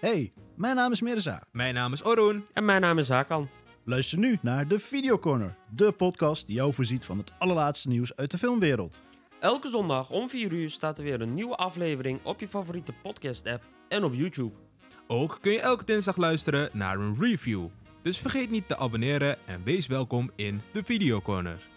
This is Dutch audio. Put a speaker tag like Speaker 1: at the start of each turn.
Speaker 1: Hey, mijn naam is Mirza.
Speaker 2: Mijn naam is Oroen.
Speaker 3: En mijn naam is Hakan.
Speaker 1: Luister nu naar de Videocorner, de podcast die jou voorziet van het allerlaatste nieuws uit de filmwereld.
Speaker 3: Elke zondag om 4 uur staat er weer een nieuwe aflevering op je favoriete podcast-app en op YouTube.
Speaker 2: Ook kun je elke dinsdag luisteren naar een review. Dus vergeet niet te abonneren en wees welkom in de Videocorner.